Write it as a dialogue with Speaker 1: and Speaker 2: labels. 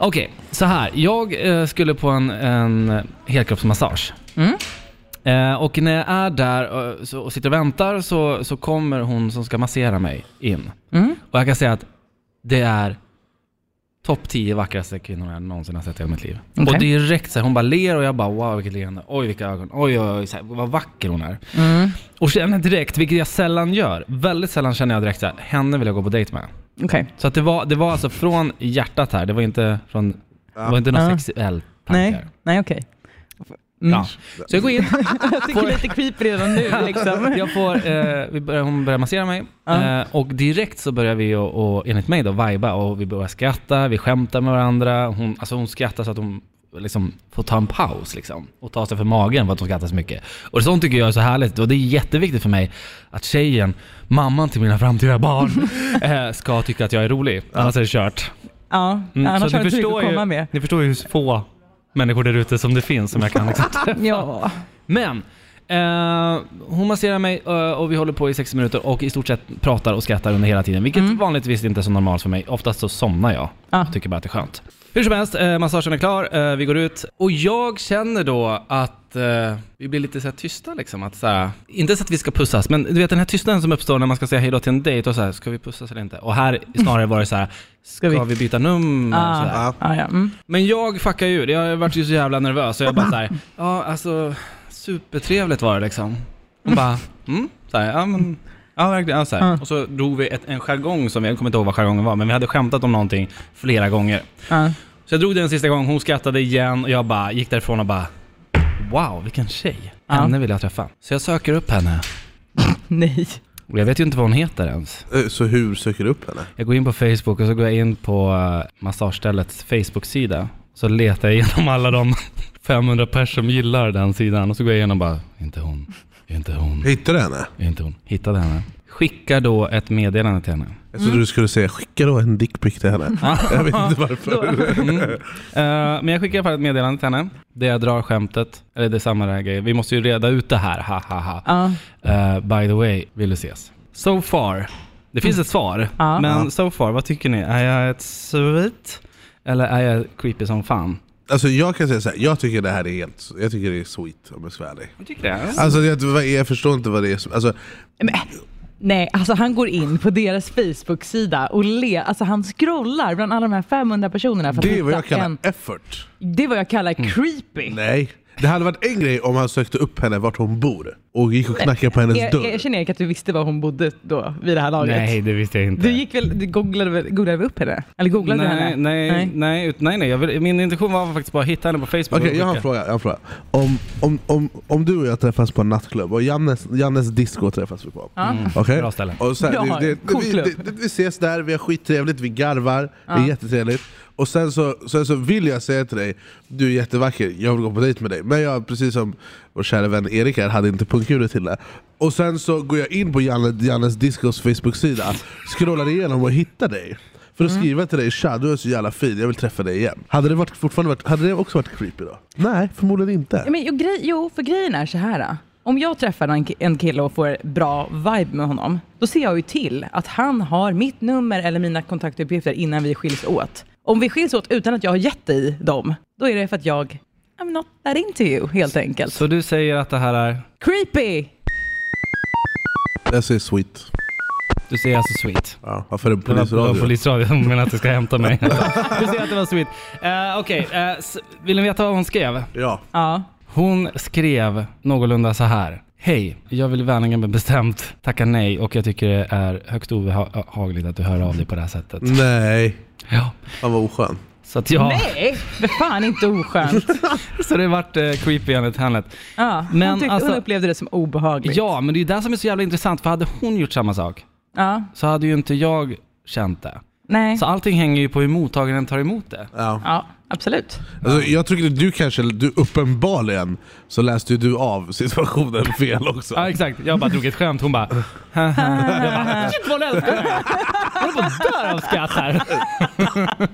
Speaker 1: Okej, så här. Jag eh, skulle på en, en helkroppsmassage.
Speaker 2: Mm.
Speaker 1: Eh, och när jag är där eh, så, och sitter och väntar så, så kommer hon som ska massera mig in.
Speaker 2: Mm.
Speaker 1: Och jag kan säga att det är topp 10 vackraste kvinnor jag någonsin har sett i hela mitt liv.
Speaker 2: Okej.
Speaker 1: Och direkt så här, hon bara ler och jag bara wow vilket leende, oj vilka ögon, oj oj, oj så här, vad vacker hon är.
Speaker 2: Mm.
Speaker 1: Och känner direkt, vilket jag sällan gör, väldigt sällan känner jag direkt så här, henne vill jag gå på dejt med.
Speaker 2: Okej.
Speaker 1: Så att det var, det var alltså från hjärtat här, det var inte från, det var inte någon
Speaker 2: Ja.
Speaker 1: sexuell tanke.
Speaker 2: Nej,
Speaker 1: här.
Speaker 2: nej okej. Mm.
Speaker 1: Ja. Så jag går in,
Speaker 2: Jag tycker det är lite creepy redan nu liksom.
Speaker 1: jag får, eh, vi börjar, hon börjar massera mig
Speaker 2: Ja.
Speaker 1: eh, och direkt så börjar vi och, och enligt mig då vibea och vi börjar skratta, vi skämtar med varandra. Hon, alltså hon skrattar så att hon liksom får ta en paus liksom och ta sig för magen för att hon skrattar så mycket. Och sånt tycker jag är så härligt och det är jätteviktigt för mig att tjejen, mamman till mina framtida barn, eh, ska tycka att jag är rolig. Annars är det kört.
Speaker 2: Ja,
Speaker 1: Mm,
Speaker 2: annars
Speaker 1: så
Speaker 2: har du inte mycket att komma med.
Speaker 1: ni förstår ju hur få människor där ute som det finns som jag kan liksom
Speaker 2: Ja.
Speaker 1: men, eh, hon masserar mig eh, och vi håller på i 60 minuter och i stort sett pratar och skrattar under hela tiden. Vilket vanligtvis inte är så normalt för mig. Oftast så somnar jag.
Speaker 2: Ja.
Speaker 1: Jag tycker bara att det är skönt. Hur som helst, eh, massagen är klar, eh, vi går ut. Och jag känner då att eh, vi blir lite så här tysta liksom. Att, så här, inte så att vi ska pussas, men du vet den här tystnaden som uppstår när man ska säga hejdå till en dejt och så här, ska vi pussas eller inte? Och här snarare var det så här, ska,
Speaker 2: vi-
Speaker 1: vi byta nummer?
Speaker 2: Ah.
Speaker 1: Så här.
Speaker 3: Ja.
Speaker 2: Ja, ja. Mm.
Speaker 1: Men jag fuckar ju ur. Jag vart ju så jävla nervös. Så jag bara såhär, ja alltså supertrevligt var det liksom. Hon bara, mm? Såhär, ja men, ja verkligen. Ja, så här.
Speaker 2: Ja.
Speaker 1: Och så drog vi ett, en jargong som, jag kommer inte ihåg vad jargongen var, men vi hade skämtat om någonting flera gånger.
Speaker 2: Ja.
Speaker 1: Så jag drog den en sista gång, hon skrattade igen och jag bara gick därifrån och bara, wow vilken tjej.
Speaker 2: Ja.
Speaker 1: Henne vill jag träffa. Så jag söker upp henne.
Speaker 2: Nej.
Speaker 1: Och jag vet ju inte vad hon heter ens.
Speaker 3: Eh, Så hur söker du upp henne?
Speaker 1: Jag går in på Facebook och så går jag in på eh, massageställets Facebook-sida. Så letar jag igenom alla de 500 pers som gillar den sidan och så går jag igenom och bara, inte hon, inte hon,
Speaker 3: Hittar du henne?
Speaker 1: inte hon. Hittade henne. Skickar då ett meddelande till henne.
Speaker 3: Jag trodde du skulle säga skicka då en dickpic till henne. jag vet inte varför.
Speaker 1: Mm. Eh, men jag skickar i alla fall ett meddelande till henne. Där jag drar skämtet, eller det är samma där grej. Vi måste ju reda ut det här, ha ha ha.
Speaker 2: Ja.
Speaker 1: Eh, by the way, vill du ses? So far. Det finns ett svar,
Speaker 2: Ja.
Speaker 1: men
Speaker 3: Ja.
Speaker 1: so far, vad tycker ni? Är jag ett svit? Eller är jag creepy som fan?
Speaker 3: Alltså jag kan säga så här, jag tycker det här är helt, jag tycker det är sweet om jag ska vara ärlig.
Speaker 1: Jag tycker det.
Speaker 3: Alltså jag, vad är- jag förstår inte vad det är som, alltså,
Speaker 2: Men, nej, alltså han går in på deras Facebook-sida och le. Alltså han scrollar bland alla de här 500 personerna för att
Speaker 3: det är vad
Speaker 2: hitta
Speaker 3: jag kallar
Speaker 2: en...
Speaker 3: effort.
Speaker 2: Det är vad jag kallar creepy.
Speaker 3: Nej. Det hade varit en grej om han sökte upp henne vart hon bor och gick och knackade på hennes
Speaker 2: Jag, jag,
Speaker 3: dörr.
Speaker 2: jag känner Erik att du visste var hon bodde då, vid det här laget.
Speaker 1: Nej, det visste jag inte.
Speaker 2: Du gick väl, du googlade, väl- googlade väl upp henne? Eller googlade du
Speaker 1: nej,
Speaker 2: henne?
Speaker 1: nej, nej, nej, ut- nej, nej. Jag vill, min intention var faktiskt bara att hitta henne på Facebook.
Speaker 3: Okej,
Speaker 1: och
Speaker 3: jag har en
Speaker 1: skicka.
Speaker 3: fråga. Jag har en fråga. Om, om, om, om du och jag träffas på en nattklubb, och Jannes, Jannes disco träffas vi på.
Speaker 2: Ja.
Speaker 3: Okej?
Speaker 1: Bra ställe.
Speaker 3: Och så här,
Speaker 2: Bra,
Speaker 3: det, det,
Speaker 2: cool
Speaker 3: vi,
Speaker 2: klubb.
Speaker 3: det, det, vi ses där, vi har skittrevligt, vi garvar, det är jättetrevligt. Och sen så, sen så vill jag säga till dig, du är jättevacker, jag vill gå på dejt med dig. Men jag, precis som vår kära vän Erik här, hade inte pungkulor till det. Och sen så går jag in på Janne, Jannes Discos Facebook-sida, scrollar igenom och hittar dig. För att skriva till dig, tja du är så jävla fin, jag vill träffa dig igen. Hade det, varit, fortfarande varit, hade det också varit creepy då? Nej, förmodligen inte.
Speaker 2: Ja, Men, jo, grej, jo, för grejen är så här. då. Om jag träffar en, ki- en kille och får bra vibe med honom, då ser jag ju till att han har mitt nummer eller mina kontaktuppgifter innan vi skiljs åt. Om vi skiljs åt utan att jag har gett dig dem, då är det för att jag I'm not that into you, helt enkelt.
Speaker 1: Så du säger att det här är...
Speaker 2: Creepy!
Speaker 3: Jag säger sweet.
Speaker 1: Du säger alltså sweet.
Speaker 3: Ja, varför en
Speaker 1: Det var på
Speaker 3: polisradio?
Speaker 1: polisradion, men att du ska hämta mig. du säger att det var sweet. Eh, Okej, eh, s- vill ni veta vad hon skrev?
Speaker 3: Ja.
Speaker 2: Ja.
Speaker 1: Hon skrev någorlunda så här. Hej, jag vill vänligen men bestämt tacka nej och jag tycker det är högst obehagligt att du hör av dig på det här sättet.
Speaker 3: Nej.
Speaker 1: Ja.
Speaker 3: Han var oskön.
Speaker 1: Så att jag...
Speaker 2: Nej, det är fan inte oskönt.
Speaker 1: Så det vart eh, creepy enligt henne.
Speaker 2: Ja,
Speaker 1: Men
Speaker 2: men hon, tyckte,
Speaker 1: alltså-
Speaker 2: hon upplevde det som obehagligt.
Speaker 1: Ja, men det är ju det som är så jävla intressant, för hade hon gjort samma sak
Speaker 2: Ja,
Speaker 1: så hade ju inte jag känt det.
Speaker 2: nej.
Speaker 1: Så allting hänger ju på hur mottagaren tar emot det.
Speaker 3: Ja.
Speaker 2: Ja, absolut.
Speaker 3: Alltså, jag tycker att du kanske, du uppenbarligen, så läste ju du av situationen fel också.
Speaker 1: Ja exakt, jag bara drog ett skämt, hon bara haha. Jag bara shit vad hon älskar det här! Hon bara dör av skratt här.